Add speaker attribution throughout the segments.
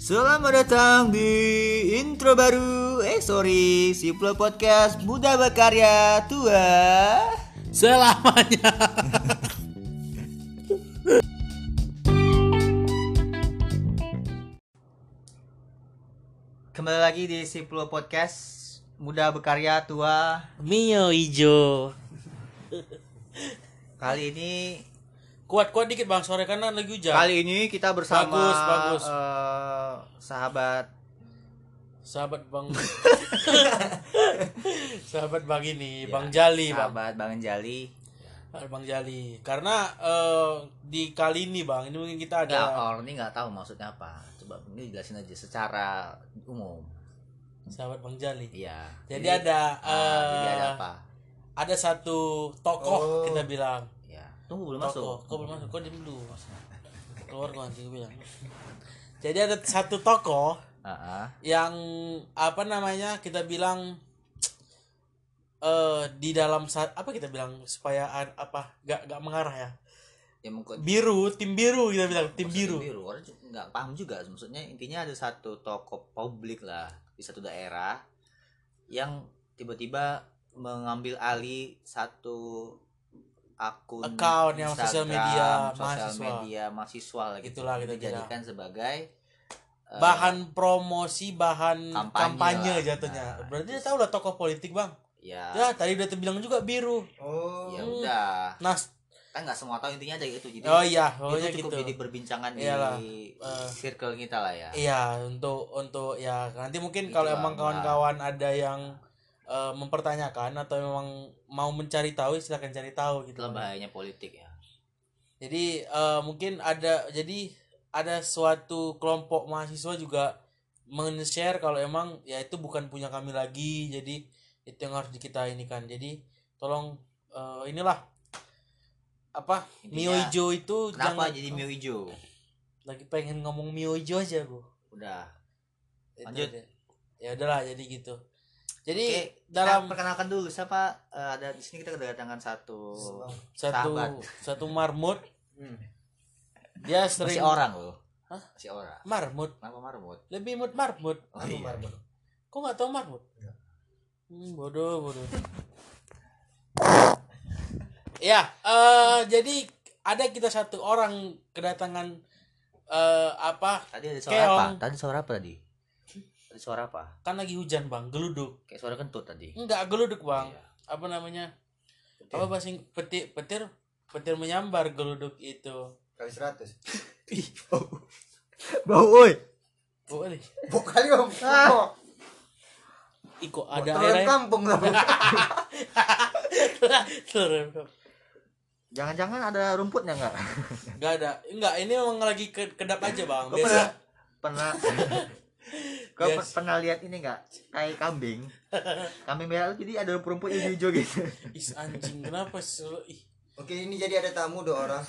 Speaker 1: Selamat datang di intro baru Eh sorry, Siplo Podcast Muda Berkarya Tua
Speaker 2: selamanya.
Speaker 1: Kembali lagi di Siplo Podcast Muda Berkarya Tua
Speaker 2: Mio hijau.
Speaker 1: Kali ini
Speaker 2: Kuat-kuat dikit bang, sore kanan lagi hujan.
Speaker 3: Ya.
Speaker 1: kali ini kita bersama
Speaker 2: Bagus, bagus.
Speaker 1: eh, sahabat
Speaker 2: Sahabat bang, sahabat bang ini,
Speaker 3: Iya,
Speaker 2: bang Jali bang,
Speaker 1: sahabat Bang Jali
Speaker 2: bang Jali. Karena eh, di kali ini bang, ini mungkin kita
Speaker 3: Enggak,
Speaker 1: Iya.
Speaker 2: ada
Speaker 3: orang ini nggak tahu maksudnya apa. Coba ini jelasin aja secara umum.
Speaker 2: sahabat bang Jali.
Speaker 3: Iya.
Speaker 2: Jadi ada
Speaker 3: ah, jadi
Speaker 2: eh,
Speaker 3: ada
Speaker 2: ada,
Speaker 3: apa?
Speaker 2: satu tokoh kita bilang.
Speaker 3: Ya. Tunggu belum masuk.
Speaker 2: Tokoh, kok belum masuk? Kok diem dulu? Keluar kok nanti gue bilang. Jadi ada satu tokoh
Speaker 3: Heeh.
Speaker 2: yang apa namanya kita bilang eh di dalam saat apa kita bilang supaya an- apa gak gak mengarah ya
Speaker 3: Ya mungkin
Speaker 2: biru tim biru kita bilang tim
Speaker 3: maksudnya
Speaker 2: biru
Speaker 3: biru. Orang juga nggak paham juga. Maksudnya intinya ada satu toko publik lah di satu daerah yang tiba-tiba mengambil alih satu akun
Speaker 2: Account yang sosial
Speaker 3: sosial
Speaker 2: media mahasiswa.
Speaker 3: media mahasiswa lah gitu.
Speaker 2: Itulah kita
Speaker 3: dijadikan sebagai eh,
Speaker 2: bahan promosi bahan
Speaker 3: Kampanye
Speaker 2: kampanye,
Speaker 3: lah.
Speaker 2: jatuhnya
Speaker 3: Nah,
Speaker 2: berarti dia
Speaker 3: terus-
Speaker 2: tahu lah tokoh politik bang
Speaker 3: ya
Speaker 2: ya tadi udah bilang juga biru
Speaker 1: Oh
Speaker 3: ya udah
Speaker 2: nah
Speaker 3: kan nggak semua tahu intinya aja gitu jadi
Speaker 2: oh iya
Speaker 3: itu
Speaker 2: pokoknya
Speaker 3: cukup
Speaker 2: gitu
Speaker 3: jadi perbincangan
Speaker 2: Iyalah,
Speaker 3: di
Speaker 2: eh.
Speaker 3: circle kita lah ya
Speaker 2: Iya, untuk untuk ya nanti
Speaker 3: Gitu
Speaker 2: mungkin kalau
Speaker 3: lah,
Speaker 2: emang
Speaker 3: Mbak.
Speaker 2: kawan-kawan ada yang eh, mempertanyakan atau memang mau mencari tahu silakan cari tahu gitu.
Speaker 3: itulah bahayanya politik ya
Speaker 2: Jadi eh, mungkin ada jadi ada suatu kelompok mahasiswa juga men-share kalau emang ya itu bukan punya kami lagi. Jadi itu yang harus kita ini kan. Jadi tolong eh, inilah apa Mio
Speaker 3: Intinya,
Speaker 2: Ijo itu
Speaker 3: ya, kenapa
Speaker 2: jangan-
Speaker 3: jadi mio hijau
Speaker 2: lagi pengen ngomong Mio Ijo aja gua.
Speaker 3: udah
Speaker 2: Itu
Speaker 3: Lanjut.
Speaker 2: aja. ya udahlah jadi gitu jadi
Speaker 3: Oke,
Speaker 2: dalam
Speaker 3: Nah, perkenalkan dulu siapa eh, ada di sini kita kedatangan satu
Speaker 2: Oh, satu
Speaker 3: sahabat. Hmm.
Speaker 2: satu marmut dia sering
Speaker 3: masih orang loh
Speaker 2: Hah?
Speaker 3: masih orang
Speaker 2: marmut
Speaker 3: kenapa marmut
Speaker 2: lebih mut marmut
Speaker 3: Oh, iya.
Speaker 2: marmut kok nggak tahu marmut hmm, bodoh bodoh ya eh jadi ada kita satu orang kedatangan eh apa
Speaker 3: tadi ada suara
Speaker 2: Keong.
Speaker 3: apa tadi suara apa tadi tadi suara apa
Speaker 2: kan lagi hujan bang geluduk
Speaker 3: kayak suara kentut tadi
Speaker 2: enggak geluduk bang
Speaker 3: Iya.
Speaker 2: apa namanya apa bahasa Ing- petir petir petir menyambar geluduk itu
Speaker 4: kali 100
Speaker 1: Bau oi Ah.
Speaker 2: boleh
Speaker 4: Bok kali om Bok.
Speaker 2: Iko
Speaker 4: Bok
Speaker 2: ada
Speaker 4: telur
Speaker 2: airnya
Speaker 4: kampung lah Bok.
Speaker 2: Terus.
Speaker 1: Jangan-jangan ada rumputnya nggak?
Speaker 2: Enggak ada. Enggak, ini memang lagi ke- kedap aja, Bang.
Speaker 1: Kau
Speaker 2: Biasa.
Speaker 1: pernah pernah kau pe-
Speaker 2: Biasa.
Speaker 1: pernah lihat ini nggak kayak kambing kambing merah jadi ada rumput hijau-hijau gitu
Speaker 2: Is anjing, kenapa selalu ih.
Speaker 4: Oke ini jadi ada tamu dua orang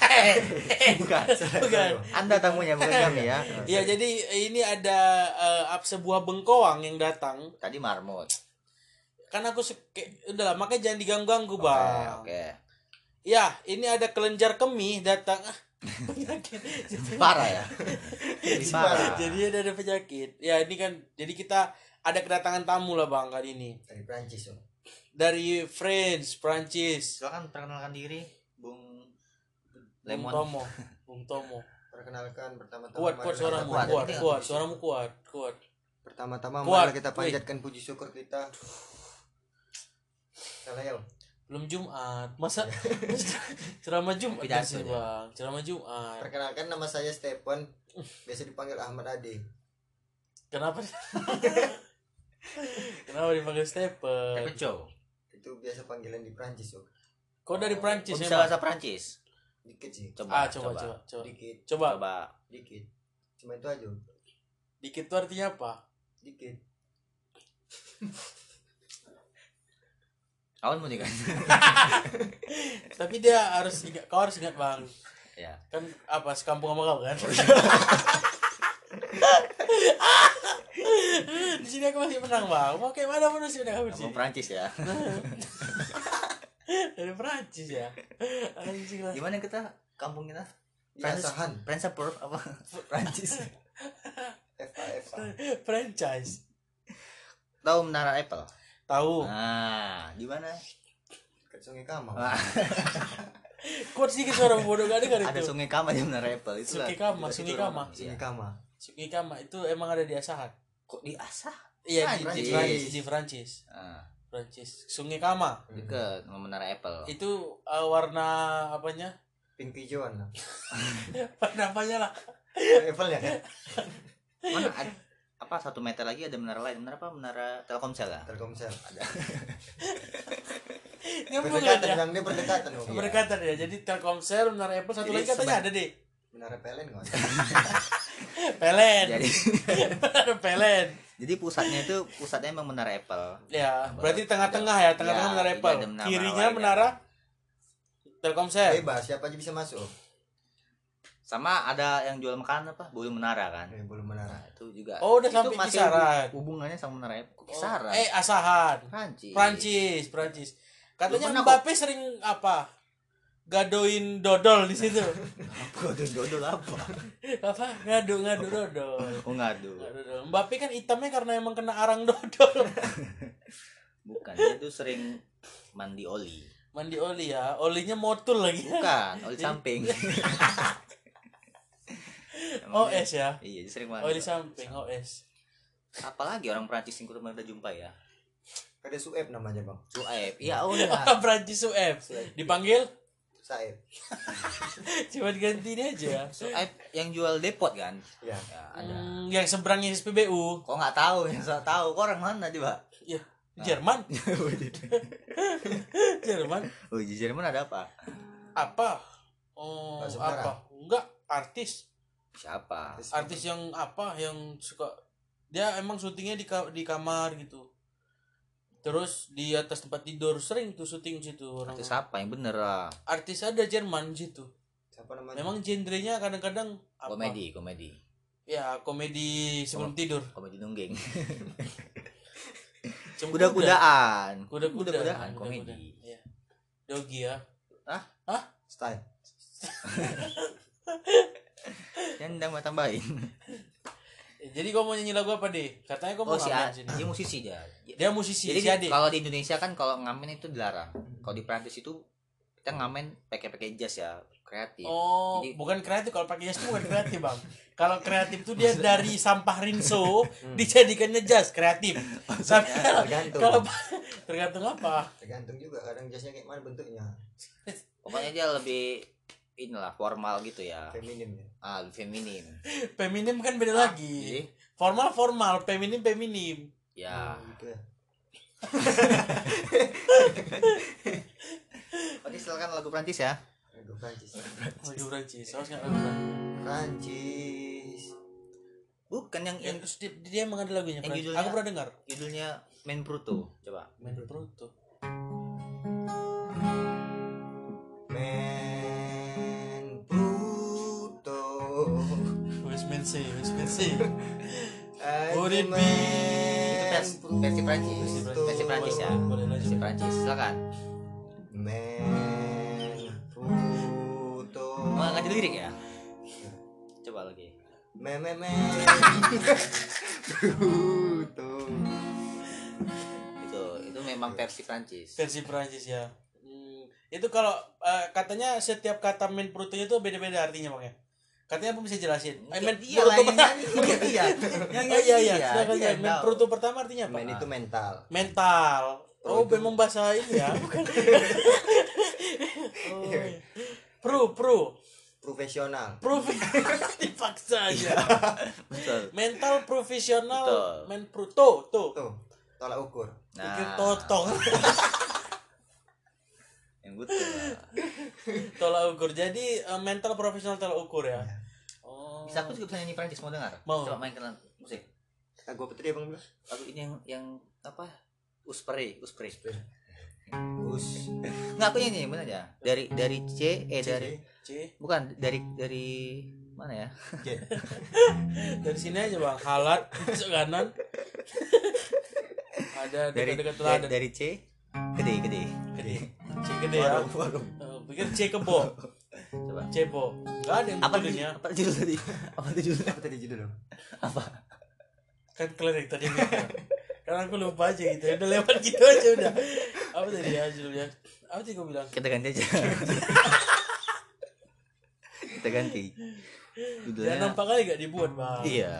Speaker 1: bukan
Speaker 2: Bukan.
Speaker 1: anda tamunya bukan kami ya
Speaker 3: Iya.
Speaker 2: Ya, jadi ini ada eh, ap- sebuah bengkoang yang datang.
Speaker 3: tadi marmut
Speaker 2: Kan aku suka udah lah, makanya jangan diganggu-ganggu,
Speaker 3: oke
Speaker 2: Bang.
Speaker 3: oke
Speaker 2: Ya, ini ada kelenjar kemih datang. Ah, penyakit.
Speaker 3: parah ya Jadi parah
Speaker 2: jadi ada, ada penyakit. Ya, ini kan jadi kita ada kedatangan tamu lah, Bang, kali ini.
Speaker 4: dari Prancis om
Speaker 2: Dari France, Prancis.
Speaker 3: silakan perkenalkan diri bung
Speaker 2: Bung
Speaker 3: lemon
Speaker 2: Tomo. Bung Tomo.
Speaker 4: perkenalkan pertama-tama
Speaker 2: kuat kuat
Speaker 4: mari-
Speaker 2: suaramu
Speaker 3: Kuat,
Speaker 2: kuat kuat,
Speaker 3: kuat.
Speaker 2: suaramu kuat kuat
Speaker 4: pertama-tama
Speaker 2: Kuat.
Speaker 4: marilah kita panjatkan puji syukur kita salah ya Om.
Speaker 2: belum Jumat masa Iya. ceramah Jumat
Speaker 3: Pidato
Speaker 2: sih
Speaker 3: dia.
Speaker 2: bang ceramah Jumat
Speaker 4: perkenalkan nama saya Stephen biasa dipanggil Ahmad Ade
Speaker 2: kenapa kenapa dipanggil Stephen
Speaker 3: Pecho.
Speaker 4: itu biasa panggilan di Prancis om
Speaker 2: kau dari Prancis
Speaker 3: Oh,
Speaker 2: ya
Speaker 3: bisa
Speaker 2: bang
Speaker 3: bahasa Prancis.
Speaker 4: dikit sih
Speaker 2: ah coba coba coba
Speaker 4: dikit
Speaker 2: coba
Speaker 3: Coba.
Speaker 4: dikit cuma itu aja Om.
Speaker 2: dikit tuh artinya apa
Speaker 4: dikit
Speaker 3: Awan mau juga.
Speaker 2: tapi dia harus ingat kau harus ingat bang
Speaker 3: ya.
Speaker 2: kan apa sekampung sama kau kan di sini aku masih menang bang mau kayak mana pun masih menang aku di
Speaker 3: Kamu
Speaker 2: sini
Speaker 3: Prancis ya.
Speaker 2: dari Prancis ya anjing lah
Speaker 3: Gimana kita kampung kita?
Speaker 4: ya
Speaker 3: Prancis.
Speaker 4: sahan
Speaker 3: Prancis apa? Prancis.
Speaker 4: FAF
Speaker 2: franchise
Speaker 3: Tahu menara Apple?
Speaker 2: tahu
Speaker 3: Nah, di mana?
Speaker 4: Kan sungai kamar.
Speaker 2: Ah,
Speaker 3: Wah,
Speaker 2: kuat sih suara bodoh gak dengar
Speaker 3: ada
Speaker 2: itu
Speaker 3: sungai Kama di menara Apple. Itulah.
Speaker 2: Sungkikama,
Speaker 3: Itu- itu
Speaker 2: Sungkikama.
Speaker 3: rumah. Iya.
Speaker 4: Sungai kamar.
Speaker 2: Sukikama itu emang ada di Asahan
Speaker 3: Kok di Asah?
Speaker 2: iya di, di
Speaker 4: Prancis.
Speaker 2: Prancis di Prancis
Speaker 3: Ah,
Speaker 2: Prancis Sungai Kama
Speaker 3: dekat sama menara Apple.
Speaker 2: itu eh, warna apanya
Speaker 4: Pink hijauan lah.
Speaker 2: warna apanya lah
Speaker 4: Apple ya
Speaker 2: Iya.
Speaker 4: kan?
Speaker 3: Mana ada, apa satu meter lagi ada menara lain? Menara apa? Menara Telkomsel ya? lah.
Speaker 4: Telkomsel.
Speaker 2: nyambung
Speaker 4: Berdekatan,
Speaker 3: kan?
Speaker 2: aja
Speaker 4: yang ini berdekatan dong.
Speaker 2: ya? berdekatan ya jadi Telkomsel menara Apple satu
Speaker 3: Iya. Jadi
Speaker 2: lagi katanya
Speaker 3: sebar-
Speaker 2: ada deh
Speaker 4: Menara PLN kan?
Speaker 2: Pelen
Speaker 3: Jadi
Speaker 2: Pelen
Speaker 3: jadi pusatnya itu pusatnya memang menara Apple.
Speaker 2: ya berarti
Speaker 3: Ada-
Speaker 2: tengah-tengah ya tengah-tengah
Speaker 3: ya,
Speaker 2: menara
Speaker 3: tidak
Speaker 2: Apple
Speaker 3: ada Eh, menara
Speaker 2: kirinya
Speaker 3: lain.
Speaker 2: menara Telkomsel
Speaker 4: Bebas, siapa aja bisa masuk.
Speaker 3: Sama ada yang jual makanan apa? Bolu menara kan.
Speaker 4: Eh, belum menara.
Speaker 3: Nah, itu juga.
Speaker 2: Oh, udah
Speaker 3: itu
Speaker 2: sampai
Speaker 3: masih
Speaker 2: kisaran.
Speaker 3: hub- Hubungannya sama menara Apple.
Speaker 2: Oh,
Speaker 3: Kisaran.
Speaker 2: eh Asahan
Speaker 3: Prancis.
Speaker 2: Prancis, Prancis.
Speaker 3: Lu
Speaker 2: Katanya
Speaker 3: pernah
Speaker 2: Mbappe sering apa? Gadoin dodol di situ.
Speaker 3: Godol godol apa?
Speaker 2: apa? Ngadu ngadu dodol.
Speaker 3: Oh ngadu.
Speaker 2: Ngadu dodol. Mbappe kan hitamnya karena emang kena arang dodol.
Speaker 3: Bukan, dia tuh sering mandi oli.
Speaker 2: Mandi oli ya. Olinya motul lagi.
Speaker 3: Bukan, oli samping. Emang dia-
Speaker 2: OS ya.
Speaker 3: Iya, dia sering mandi.
Speaker 2: Oli samping OS.
Speaker 3: Apalagi orang Prancis yang kurang ada jumpa ya.
Speaker 4: Ada Sueb namanya bang.
Speaker 3: Sueb. Iya, oh ya.
Speaker 2: Prancis UF dipanggil
Speaker 4: Saeb.
Speaker 2: cuma ganti dia aja.
Speaker 3: Sueb yang jual depot kan?
Speaker 4: Ya.
Speaker 3: Ya, ada.
Speaker 2: Hmm, yang seberangnya SPBU
Speaker 3: Kok nggak tahu yang saya tahu kok orang mana coba?
Speaker 2: Jerman, Jerman
Speaker 3: oh, di Jerman ada apa?
Speaker 2: apa? Oh,
Speaker 4: Bahasa
Speaker 2: apa? Enggak, artis.
Speaker 3: Siapa?
Speaker 2: artis yang apa yang suka dia emang syutingnya di ka- di kamar gitu terus di atas tempat tidur sering tuh syuting situ orang
Speaker 3: Artis
Speaker 2: artis,
Speaker 3: apa yang bener ah? lah?
Speaker 2: ada Jerman situ
Speaker 4: Siapa namanya?
Speaker 2: memang genrenya kadang-kadang apa
Speaker 3: Komedi, Oh. komedi.
Speaker 2: ya komedi sebelum tidur
Speaker 3: Komedi nungging.
Speaker 2: Cem-
Speaker 3: Kuda-kudaan.
Speaker 2: kuda kuda
Speaker 3: Kuda-kudaan komedi.
Speaker 2: ya. dogi ya
Speaker 4: Style.
Speaker 3: Yang ndang mau tambahin.
Speaker 2: Eh, jadi kau mau nyanyi lagu apa deh katanya kau mau
Speaker 3: Oh, si
Speaker 2: ngamen
Speaker 3: A-
Speaker 2: sini
Speaker 3: dia musisi dia.
Speaker 2: dia musisi
Speaker 3: Jadi
Speaker 2: si Ade.
Speaker 3: kalau di Indonesia kan kalau ngamen itu dilarang. Kalau di Prancis itu kita ngamen pakai pakai jas ya, kreatif.
Speaker 2: Oh,
Speaker 3: Jadi-
Speaker 2: bukan kreatif kalau pakai jas itu bukan kreatif, Bang. Kalau kreatif tuh dia dari sampah rinso dijadikannya jas kreatif. Tapi kalau-
Speaker 4: Hmm. Tergantung.
Speaker 2: kalau tergantung apa?
Speaker 4: Tergantung juga kadang jasnya kayak mana bentuknya.
Speaker 3: Pokoknya dia lebih inilah formal gitu ya.
Speaker 4: Feminim ya.
Speaker 3: Ah, lebih feminim.
Speaker 2: Feminim kan beda
Speaker 3: Jadi,
Speaker 2: lagi. Formal formal, feminim feminim.
Speaker 3: ya.
Speaker 4: Hmm, gitu ya.
Speaker 3: Oke, silakan lagu Prancis ya.
Speaker 4: Aduh Prancis.
Speaker 2: Lagu Prancis, harus nggak lagu Prancis.
Speaker 4: Prancis.
Speaker 3: Bukan yang
Speaker 2: Ya,
Speaker 3: yang
Speaker 2: terus dia, dia emang ada lagunya.
Speaker 3: Yang
Speaker 2: Prancis.
Speaker 3: judulnya-
Speaker 2: Aku pernah dengar.
Speaker 3: judulnya Men Pruto. Coba.
Speaker 2: Menurut tuh.
Speaker 4: Men Pluto.
Speaker 2: Wes mense, wes mense. Would it
Speaker 4: Aduh,
Speaker 2: be-
Speaker 3: Itu
Speaker 4: Men
Speaker 3: vers- versi Prancis.
Speaker 4: Pruto.
Speaker 3: Versi Prancis ya.
Speaker 2: Boleh
Speaker 3: Versi
Speaker 2: lanjut.
Speaker 3: Prancis. Silakan.
Speaker 4: Men Pluto.
Speaker 3: Mau nggak ada lirik ya? Coba lagi.
Speaker 4: Me me me. Pluto.
Speaker 3: Itu itu memang versi Prancis.
Speaker 2: Versi Prancis ya. Hmm, itu kalau eh, katanya setiap kata men perutunya itu beda-beda artinya bang ya. Katanya apa bisa jelasin? Eh, men
Speaker 3: dia lah
Speaker 2: perutu
Speaker 3: yang
Speaker 2: pertama.
Speaker 3: nyanyi, dia dia. Yang
Speaker 2: Oh, iya
Speaker 3: nyanyi
Speaker 2: iya.
Speaker 3: dia,
Speaker 2: Silakan
Speaker 3: dia
Speaker 2: ya.
Speaker 3: yang
Speaker 2: Men
Speaker 3: tahu.
Speaker 2: perutu pertama artinya apa?
Speaker 4: Men itu mental.
Speaker 2: Mental. Oh,
Speaker 4: Perutu.
Speaker 2: memang bahasa ini ya. Bukan. oh. iya. Pro, pro,
Speaker 4: Profesional.
Speaker 2: pro, dipaksa iya. aja.
Speaker 3: Betul.
Speaker 2: Mental profesional,
Speaker 3: Betul.
Speaker 2: men pruto, tuh.
Speaker 4: Tuh, tolak ukur.
Speaker 2: Pikir
Speaker 3: Nah,
Speaker 2: totong.
Speaker 3: yang ya. betul. lah.
Speaker 2: tolak ukur jadi eh, mental profesional tolak ukur ya oh
Speaker 3: Bisa aku juga bisa nyanyi Prancis mau dengar?
Speaker 2: Mau.
Speaker 3: Coba mainkan musik.
Speaker 4: Nah, gua petir bang.
Speaker 3: Lagu ini yang yang apa? Uspre, Uspre.
Speaker 4: Us.
Speaker 3: Enggak aku nyanyi, bener aja. Dari dari C eh dari
Speaker 2: C
Speaker 3: bukan dari dari mana ya?
Speaker 2: dari sini aja bang halat masuk kanan ada
Speaker 3: Dari
Speaker 2: dekat-dekat
Speaker 3: dari,
Speaker 2: teladan
Speaker 3: dari C gede gede.
Speaker 2: gede C gede ya Eh, pikir C kebo
Speaker 3: Coba.
Speaker 2: cebo nggak ada yang ya.
Speaker 3: Apa
Speaker 2: betulnya
Speaker 3: judul, apa judul tadi? Apa judul?
Speaker 4: Apa tadi judul?
Speaker 3: Apa?
Speaker 2: kan kalian yang tadi bilang. karena aku lupa aja gitu ya udah lewat gitu aja udah apa tadi ya judulnya apa tadi kau bilang
Speaker 3: Kita ganti aja. Kita ganti.
Speaker 2: ya
Speaker 3: Judulnya
Speaker 2: nampak kali gak dibuat bang
Speaker 3: Iya.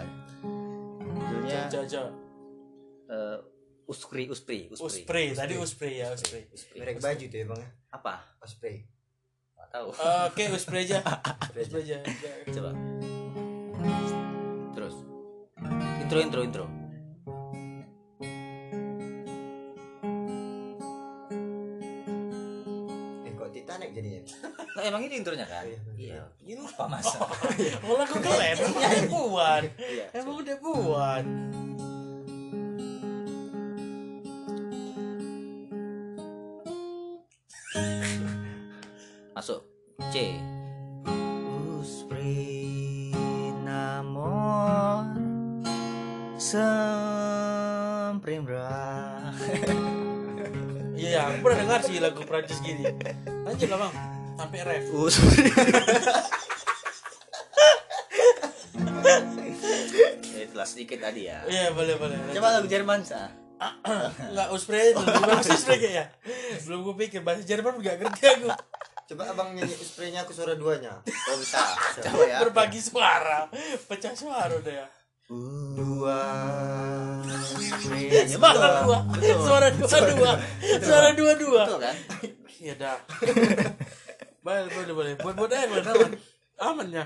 Speaker 3: Judulnya
Speaker 2: Jaja
Speaker 3: eh, Uspri, Uspri, Uspri.
Speaker 2: Uspray tadi Uspray ya Uspray
Speaker 4: merek baju tuh ya bang ya
Speaker 3: Apa?
Speaker 4: Osprey
Speaker 3: Nggak tahu.
Speaker 2: Eh, oke Uspray aja Uspray aja
Speaker 3: Coba. Terus. Intro, intro, intro.
Speaker 4: eh kok Titanic jadinya
Speaker 3: Nah, emang ini intronya kan?
Speaker 4: Iya,
Speaker 3: Iya. Ini lupa masa.
Speaker 2: Oh, lagu keren emang buat
Speaker 3: Iya.
Speaker 2: emang udah buat
Speaker 3: Masuk C. Uspri namor semprimra.
Speaker 2: iya ya aku pernah dengar sih lagu Prancis gini lanjut lah bang sampai ref
Speaker 3: Uspri. Itulah sedikit Eh, tadi ya.
Speaker 2: iya boleh boleh
Speaker 3: Coba lagu Jerman sah.
Speaker 2: nggak Uspray itu bahasa Uspray kayaknya ya. belum gue pikir bahasa Jerman nggak ngerti aku
Speaker 4: coba abang nyanyi Ospreynya aku suara duanya
Speaker 3: Oh bisa. Coba ya.
Speaker 2: berbagi suara pecah suara udah ya
Speaker 4: dua
Speaker 2: suara dua suara dua dua suara dua dua
Speaker 3: Betul kan?
Speaker 2: iya dah boleh boleh boleh buat buat aja buat aman ya?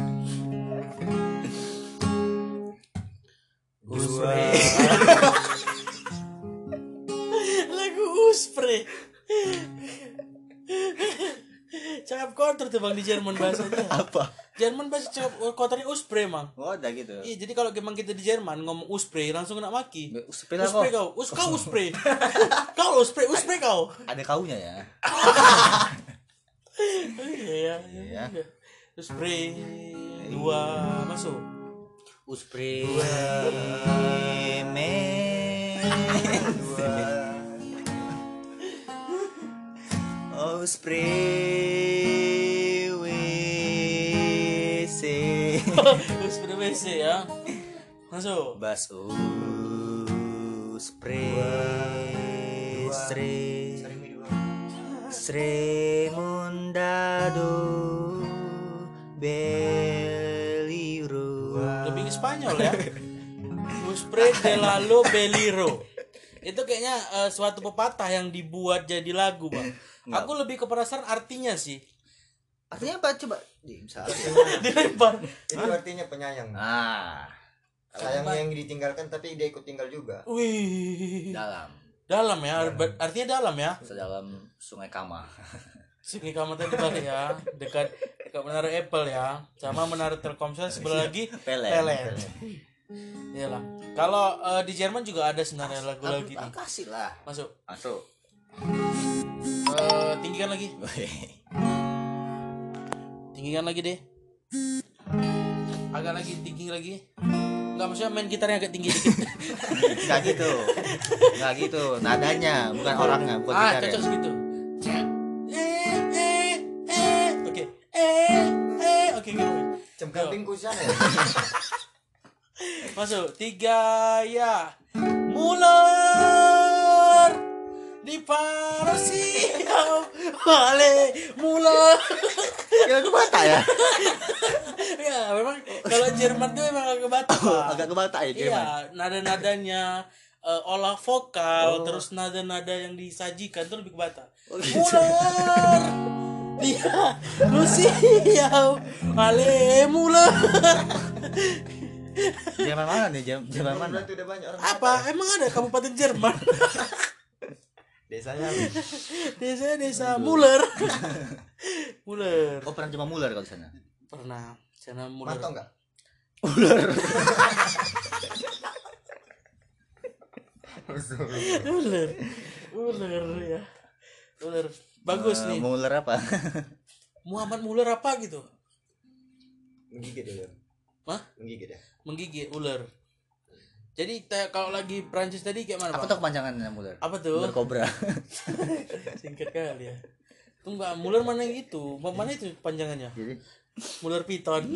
Speaker 2: amannya
Speaker 4: dua
Speaker 2: lagu Uspray cakap kotor tuh bang di Jerman bahasanya
Speaker 3: Apa?
Speaker 2: Jerman bahasa cakap kotornya Uspray mang
Speaker 3: Oh, udah gitu.
Speaker 2: Iya, jadi kalau emang kita di Jerman ngomong uspray langsung kena maki.
Speaker 3: Uspri lah
Speaker 2: Uspray
Speaker 3: kok.
Speaker 2: kau, us kau uspray. kau uspray, uspray kau.
Speaker 3: Ada kaunya ya.
Speaker 2: Iya,
Speaker 3: Iya.
Speaker 2: iya. Uspray dua masuk.
Speaker 3: Uspri men. Uspri WC.
Speaker 2: uspray WC ya. Masuk.
Speaker 3: Bas Uspri Sri Sri Mundado Beliru
Speaker 2: Lebih ke Spanyol ya. Uspray de la lo beliro. Itu kayaknya eh, suatu pepatah yang dibuat jadi lagu, Bang. Aku lebih ke penasaran artinya sih.
Speaker 3: Artinya apa coba? Di, misalnya.
Speaker 2: Dilempar.
Speaker 4: itu artinya penyayang
Speaker 3: ah,
Speaker 4: sayangnya yang ditinggalkan tapi dia ikut tinggal juga
Speaker 2: Wih.
Speaker 3: dalam.
Speaker 2: Dalam ya, artinya dalam ya.
Speaker 3: Sedalam sungai Kama.
Speaker 2: Sungai kamu tadi balik ya dekat dekat menara Apple ya sama menara Telkomsel sebelah lagi
Speaker 3: Pelet.
Speaker 2: Pelet iyalah kalau eh, di Jerman juga ada sebenarnya lagu-lagu
Speaker 3: Lalu
Speaker 2: gini
Speaker 3: kasih lah.
Speaker 2: masuk
Speaker 3: Masuk.
Speaker 2: Eh, tinggikan lagi tinggikan lagi deh agak lagi tinggi lagi nggak maksudnya main gitarnya agak tinggi dikit
Speaker 3: Enggak gitu. Enggak gitu. Nadanya, bukan orangnya, bukan ya.
Speaker 2: ah
Speaker 3: gitarnya.
Speaker 2: cocok segitu eh eh eh oke eh eh oke oke, oke.
Speaker 4: cemkamping kusan ya
Speaker 2: Masuk tiga ya. Muller di Parsi Vale Muller
Speaker 3: Ya lagu Batak ya.
Speaker 2: ya memang kalau Jerman tuh memang agak batuk Pak.
Speaker 3: Agak ke Batak ya Jerman.
Speaker 2: iya nada-nadanya eh, olah
Speaker 4: Oh.
Speaker 2: vokal terus nada-nada yang disajikan tuh lebih ke Batak
Speaker 4: gitu.
Speaker 2: Muller dia
Speaker 4: Iya.
Speaker 2: Lucia Vale Muller
Speaker 3: Jerman mana nih? Jerman, Jerman mana?
Speaker 4: Kebetulan tuh udah banyak orang
Speaker 2: apa emang ada kabupaten Jerman
Speaker 4: desanya
Speaker 2: desa desa Muller Muller
Speaker 3: Oh, pernah cuma Muller kalau di sana.
Speaker 2: pernah sana Muller
Speaker 4: mantap nggak
Speaker 2: Muller Muller ya Muller bagus
Speaker 3: Eh,
Speaker 2: nih
Speaker 3: Muller apa?
Speaker 2: Muhammad Muller apa gitu
Speaker 4: menggigit ya Bang.
Speaker 2: Hah?
Speaker 4: menggigit ya
Speaker 2: menggigit ular jadi te- kalau lagi Prancis tadi kayak mana
Speaker 3: Apa
Speaker 2: Bang?
Speaker 3: tuh kepanjangannya Muller?
Speaker 2: apa
Speaker 3: Muller
Speaker 2: tuh
Speaker 3: Cobra.
Speaker 2: singkat kali ya tuh enggak Muller mana yang itu Bang, mana itu panjangannya
Speaker 3: Jadi
Speaker 2: Muller Python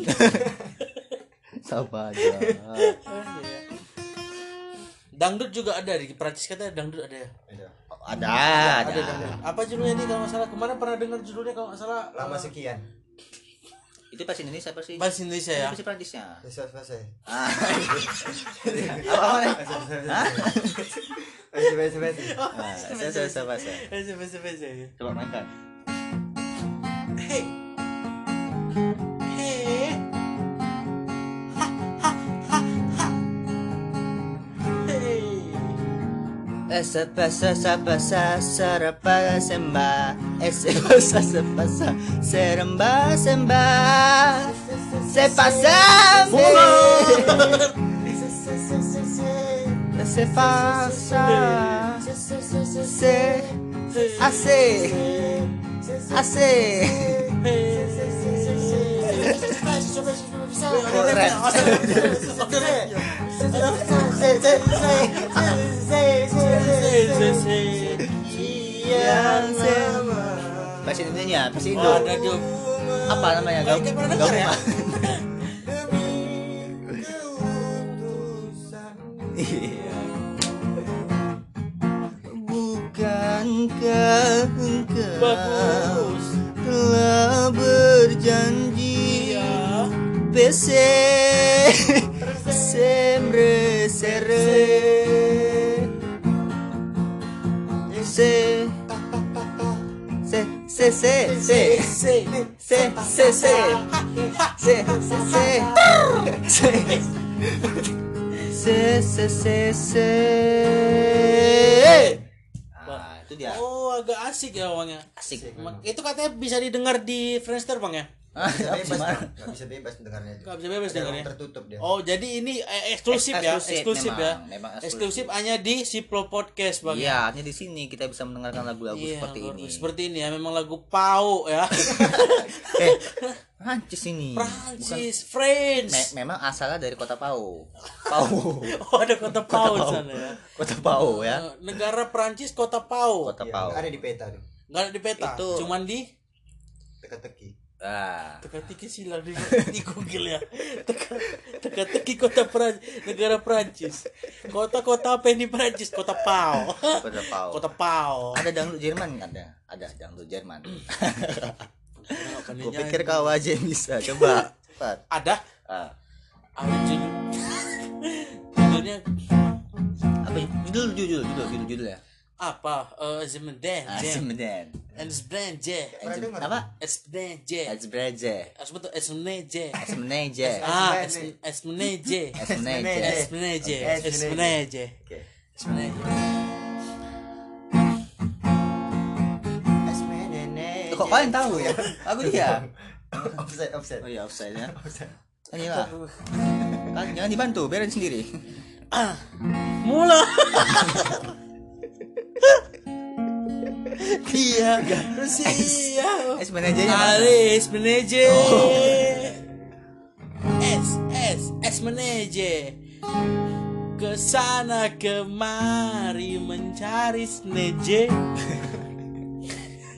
Speaker 3: sama aja.
Speaker 2: Ah, iya. Dangdut juga ada di Perancis kata dangdut ada ya.
Speaker 4: Ada.
Speaker 3: Ada, ada.
Speaker 2: Ada dangdut. Apa judulnya nih kalau nggak salah? Kemarin pernah dengar judulnya kalau nggak salah.
Speaker 4: Lama
Speaker 2: eh,
Speaker 4: sekian.
Speaker 3: Itu pas Indonesia apa sih?
Speaker 2: Bahasa Indonesia ya.
Speaker 3: Apa sih Perancisnya?
Speaker 4: Selesai selesai.
Speaker 3: Ah. Apa nih?
Speaker 2: Oh, iya.
Speaker 4: Selesai selesai.
Speaker 3: Ah, Saya saya saya bahasa.
Speaker 2: Bahasa bahasa bahasa. ya.
Speaker 3: Coba mainkan.
Speaker 2: Hey. Hey. Ha, ha, ha, ha. Hey.
Speaker 3: Esa pasa sa pasa sarapa semba Esa pasa sa pasa seremba semba Se pasa Se pasa Se hace Hace Keren
Speaker 2: Yang
Speaker 3: Bahasa Indonesia, bahasa Indo
Speaker 2: Wah, ada Jom.
Speaker 3: Apa namanya?
Speaker 2: Baik, kita pernah dengar ya?
Speaker 3: Iya. Bukankah engkau
Speaker 2: Bagus.
Speaker 3: telah berjanji
Speaker 2: Iya.
Speaker 3: PC semre sere se se se se se se se se se se se se se se se se
Speaker 2: Ah,
Speaker 3: itu dia
Speaker 2: Oh, agak asik ya bang ya.
Speaker 3: asik
Speaker 2: Ma- Itu katanya bisa didengar di Friendster bang ya?
Speaker 3: ah
Speaker 4: Nggak bisa bebas,
Speaker 3: gimana?
Speaker 4: nggak bisa bebas dengarnya. itu.
Speaker 2: Gak bisa bebas
Speaker 4: Ada ruang
Speaker 2: dengarnya.
Speaker 4: Tertutup dia.
Speaker 2: Oh, jadi ini eh, eksklusif ya, eksklusif ya.
Speaker 3: Iya. memang, memang eksklusif.
Speaker 2: Eksklusif hanya di Siplo Podcast bang.
Speaker 3: Iya, hanya di sini kita bisa mendengarkan lagu-lagu
Speaker 2: Iya,
Speaker 3: seperti
Speaker 2: bagus.
Speaker 3: ini. Iya,
Speaker 2: Seperti ini ya, memang lagu pau ya.
Speaker 3: Eh, Prancis ini. Bukan-
Speaker 2: Prancis,
Speaker 3: Me-
Speaker 2: French.
Speaker 3: memang asalnya dari kota Pau. Pau.
Speaker 2: Oh, ada kota pau di sana ya.
Speaker 3: kota Pau ya.
Speaker 2: Eh, Negara Prancis kota pau.
Speaker 3: Kota
Speaker 4: Iya,
Speaker 3: Pau.
Speaker 4: Ada di peta tuh.
Speaker 2: Enggak ada di peta,
Speaker 3: Itu-
Speaker 2: cuman di
Speaker 4: Teka-teki.
Speaker 3: Ah.
Speaker 2: teka-teki silang di, di Google ya. Teka- Teka-teki kota Prancis, negara Prancis. Kota-kota apa ini Prancis? Kota pau.
Speaker 3: Kota Pau.
Speaker 2: Kota pau.
Speaker 3: Ada dangdut Jerman ada. Ada dangdut Jerman.
Speaker 2: Kenapa nih,
Speaker 3: Gue pikir
Speaker 2: Jan?
Speaker 3: kau aja yang bisa. Coba. Cepat.
Speaker 2: ada
Speaker 3: Ah.
Speaker 2: ada judul. Judulnya
Speaker 3: Apa judul judul judul judul judul ya.
Speaker 2: apa? Eh, Zemden.
Speaker 3: Ah, semenan.
Speaker 2: Esbrenje.
Speaker 4: Pernah dengar?
Speaker 3: Apa?
Speaker 2: Esbrenje.
Speaker 3: Azbreje.
Speaker 2: Asbut esmeneje.
Speaker 3: Semeneje.
Speaker 2: Ah,
Speaker 4: Esmeneje.
Speaker 2: es- esmeneje.
Speaker 3: Semeneje.
Speaker 2: Esmeneje.
Speaker 4: Esmeneje.
Speaker 2: Esmeneje.
Speaker 3: Oke.
Speaker 2: Esmeneje.
Speaker 3: Kok kalian tahu ya? Aku dia.
Speaker 4: Offset, offset.
Speaker 3: Oh iya offside ya. Inilah. Kan jangan dibantu, biarin sendiri.
Speaker 2: Mula.
Speaker 3: Iya.
Speaker 2: Rusia.
Speaker 3: Es manajernya. mana?
Speaker 2: Ali esmeneje. Es es esmeneje. Kesana kemari mencari sneje.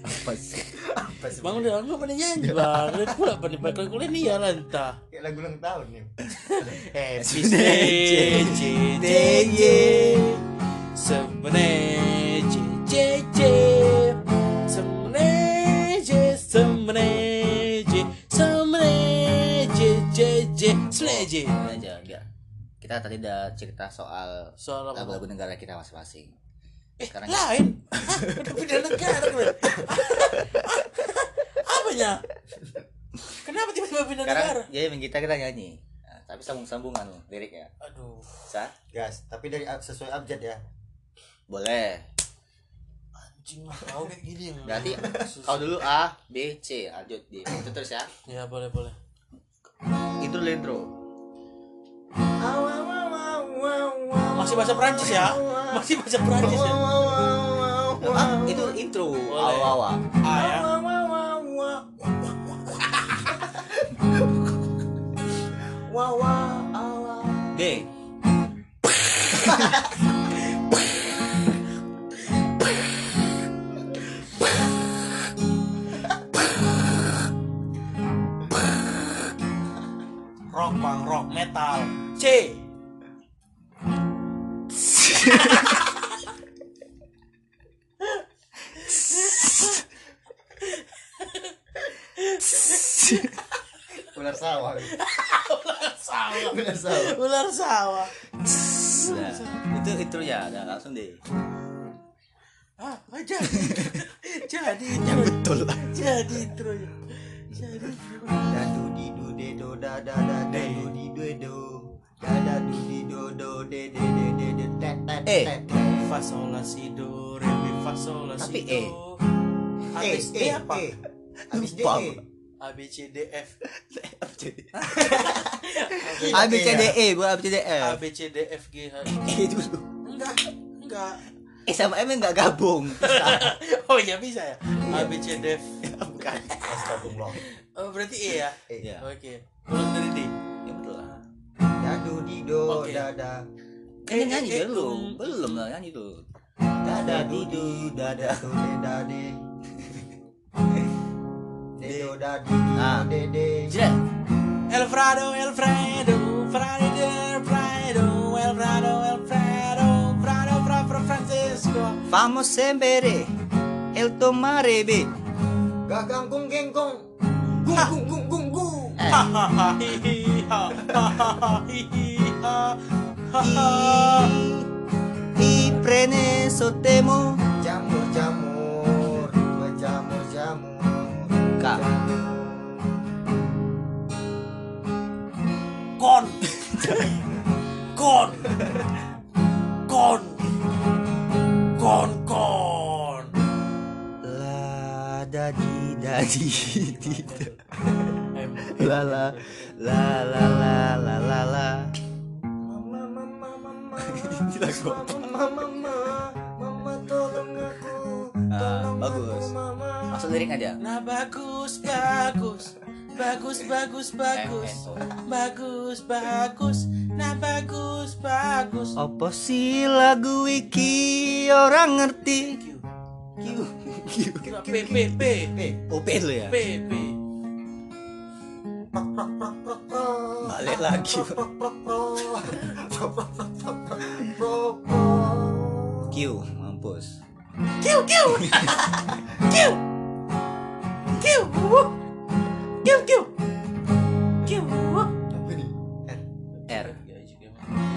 Speaker 3: Apa sih?
Speaker 4: Apa sih?
Speaker 2: Bang udah nggak pernah nyanyi bang. Udah pula apa nih? Bakal kuliah nih ya lantah.
Speaker 4: Kayak lagu ulang tahun nih.
Speaker 2: Happy
Speaker 3: birthday,
Speaker 2: JJJ Semene JJJ Semene J Semene J Semene JJJ Semene J
Speaker 3: Ini aja, enggak. Kita tadi udah cerita soal
Speaker 2: Soal apa?
Speaker 3: lagu-lagu negara kita masing-masing.
Speaker 2: Eh
Speaker 3: Sekarang-
Speaker 2: lain Hah? Udah pindah negara kemarin Apanya? Kenapa tiba-tiba pindah negara?
Speaker 3: Sekarang jadi kita kita nyanyi. Nah, tapi sambung-sambungan ya. loh, liriknya.
Speaker 2: Aduh
Speaker 3: Bisa?
Speaker 4: Gas, tapi dari sesuai abjad ya.
Speaker 3: Boleh.
Speaker 2: Anjing lah kau kayak gini yang-
Speaker 3: Berarti kau dulu A, B, C, lanjut D. Itu terus ya.
Speaker 2: Ya boleh boleh
Speaker 3: Intro dan intro.
Speaker 2: Masih bahasa Prancis ya? Masih bahasa Prancis ya?
Speaker 3: Apa? Itu intro. Awal-awal.
Speaker 2: Ah ya.
Speaker 3: D.
Speaker 2: Rock bang rock metal. C.
Speaker 4: ular sawah
Speaker 2: ular sawah
Speaker 4: ular sawah
Speaker 2: ular sawah
Speaker 3: Nah, itu itu ya, udah langsung deh.
Speaker 2: ah aja jadi
Speaker 3: Yang betul.
Speaker 2: jadi intro jadi
Speaker 4: dadu di du de do da da da dadu di du do da da du di do do de de de de de te te
Speaker 3: Eh.
Speaker 4: te te.
Speaker 2: fa sol la si do re mi fa sol la si
Speaker 3: Tapi
Speaker 2: do
Speaker 3: E.
Speaker 2: habis
Speaker 4: Eh,
Speaker 2: D
Speaker 4: eh,
Speaker 2: apa
Speaker 4: eh. Habis D,
Speaker 3: Lupa
Speaker 4: eh.
Speaker 3: gua.
Speaker 2: A B C D F
Speaker 3: A B C D E, bukan A B C D
Speaker 2: A
Speaker 3: F.
Speaker 2: B C D F G H
Speaker 3: E
Speaker 2: I J.
Speaker 3: dulu.
Speaker 2: enggak enggak
Speaker 3: E sama M enggak gabung.
Speaker 2: oh ya bisa ya A B C D F
Speaker 3: Bukan.
Speaker 4: Astagfirullah.
Speaker 2: oh, berarti E ya
Speaker 4: Eh,
Speaker 3: Iya.
Speaker 2: oke pulang dari D
Speaker 3: Ya betul lah.
Speaker 4: dadu di do
Speaker 2: Oke.
Speaker 4: da da
Speaker 3: Kan
Speaker 2: Eh,
Speaker 3: nyanyi
Speaker 2: eh, eh,
Speaker 3: belum?
Speaker 2: um.
Speaker 3: Belum lah nyanyi tuh.
Speaker 4: da da du du da da du de da de de Ah. do da di do
Speaker 3: Nah.
Speaker 4: de de
Speaker 3: Jret.
Speaker 2: Elfrado, Elfredo, Friday, Elfredo, Elfrado, Elfredo, Frado, Fra, Fra, Francisco.
Speaker 3: Vamos sembere. El tomare be.
Speaker 4: gagang kung geng kung kung kung kung kung kung
Speaker 2: Hahaha, hihiha, hahaha, hihiha, hahaha.
Speaker 3: I prene sotemo.
Speaker 4: jamur jamur dua jamur jamur
Speaker 3: Kak.
Speaker 2: Kon, kon, kon, kon, kon.
Speaker 3: La da di da di di da.
Speaker 2: Em,
Speaker 3: La la la la la la la la.
Speaker 4: mama mama mama
Speaker 3: Gila, gua.
Speaker 4: mama mama mama tolong aku
Speaker 3: Ah,
Speaker 4: tolong
Speaker 3: bagus.
Speaker 4: aku mama
Speaker 3: Langsung lirik aja.
Speaker 2: Nah bagus, bagus, bagus, bagus, bagus, bagus, bagus. Nah bagus, bagus.
Speaker 3: Apa sih lagu iki orang ngerti?
Speaker 2: Q.
Speaker 3: Kiu.
Speaker 2: Kira P P P P
Speaker 3: OP lu ya.
Speaker 2: P P.
Speaker 3: Balik lagi.
Speaker 4: pro pro pro pro pro pro pro
Speaker 3: Q, mampus.
Speaker 2: Q Q Q Q wuh. Q Q Q wuh.
Speaker 4: Apa nih? Eh,
Speaker 3: R.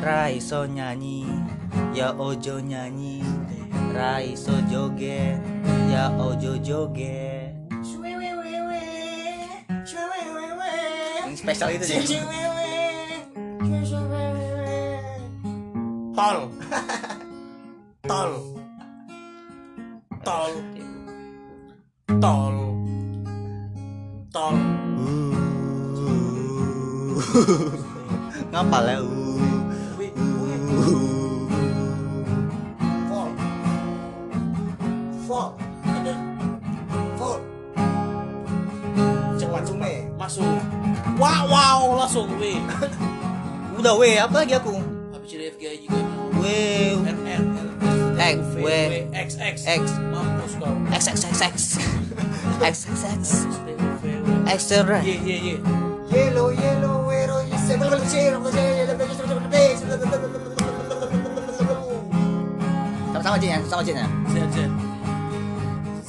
Speaker 3: Raiso nyanyi, ya ojo nyanyi. Raiso joget, ya ojo joget.
Speaker 4: shwe we we we shwe we we we
Speaker 3: Yang spesial itu
Speaker 4: shwe
Speaker 3: sih.
Speaker 4: we we shwe shwe we we we
Speaker 2: Tol. Tol. Tol. Tol. Tol.
Speaker 3: Uh. Ngapal ya?
Speaker 2: Wih, wih.
Speaker 4: Fall. Fall. Fall. Cepat cume.
Speaker 2: Masuk. Wow wow langsung wih.
Speaker 3: Udah weh, apa lagi aku?
Speaker 2: Habis dari FGI juga.
Speaker 3: Weh,
Speaker 2: R R
Speaker 3: X,
Speaker 2: V
Speaker 3: W,
Speaker 2: W X X
Speaker 3: X.
Speaker 2: Mampus kau.
Speaker 3: X, X, X, X, X, X, X,
Speaker 2: V W.
Speaker 3: X, R.
Speaker 2: Ye ye ye.
Speaker 4: Yellow, yellow, wero, yese-
Speaker 3: Sama-sama Jin ya, sama-sama Jin ya.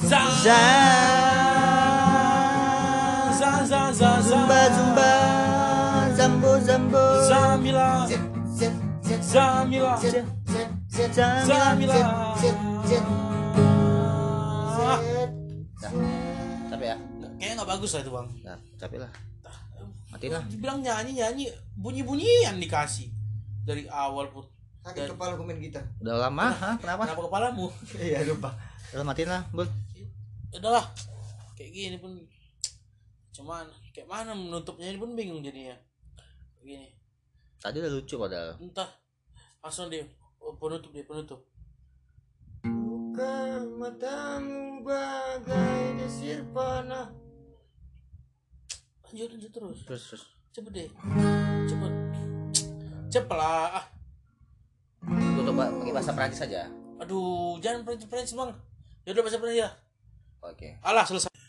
Speaker 2: Sehat sehat. Za za za za
Speaker 3: Zumba, zumba, zambo, zambo,
Speaker 2: Zamila
Speaker 4: Zet, zet, zet, zet,
Speaker 2: Zamila
Speaker 4: zet, zet, zet, zet,
Speaker 3: zamila.
Speaker 2: Zamila.
Speaker 4: zet, zet.
Speaker 2: Ah,
Speaker 3: Capek ya?
Speaker 2: Kayaknya nggak bagus lah itu bang.
Speaker 3: Nah, capek lah. Matiin lah.
Speaker 2: Dibilang nyanyi nyanyi bunyi bunyian dikasih dari awal put.
Speaker 4: Sakit kepala gue main gitar.
Speaker 3: Udah lama, ha? Kenapa?
Speaker 2: Kenapa kepalamu?
Speaker 4: Iya lupa.
Speaker 3: Udah matiin lah, Bul.
Speaker 2: udahlah kayak gini pun cuman kayak mana menutupnya ini pun bingung jadinya gini
Speaker 3: Tadi udah lucu padahal.
Speaker 2: entah langsung deh Oh, penutup deh penutup
Speaker 4: Buka matamu bagai desir panah.
Speaker 2: lanjut lanjut terus
Speaker 3: Terus, terus.
Speaker 2: cepet deh cepet cepet lah ah.
Speaker 3: Tutup ba- pakai bahasa Perancis aja.
Speaker 2: aduh jangan Prancis Prancis bang ya udah bahasa Prancis ya
Speaker 3: Oke.
Speaker 2: alah selesai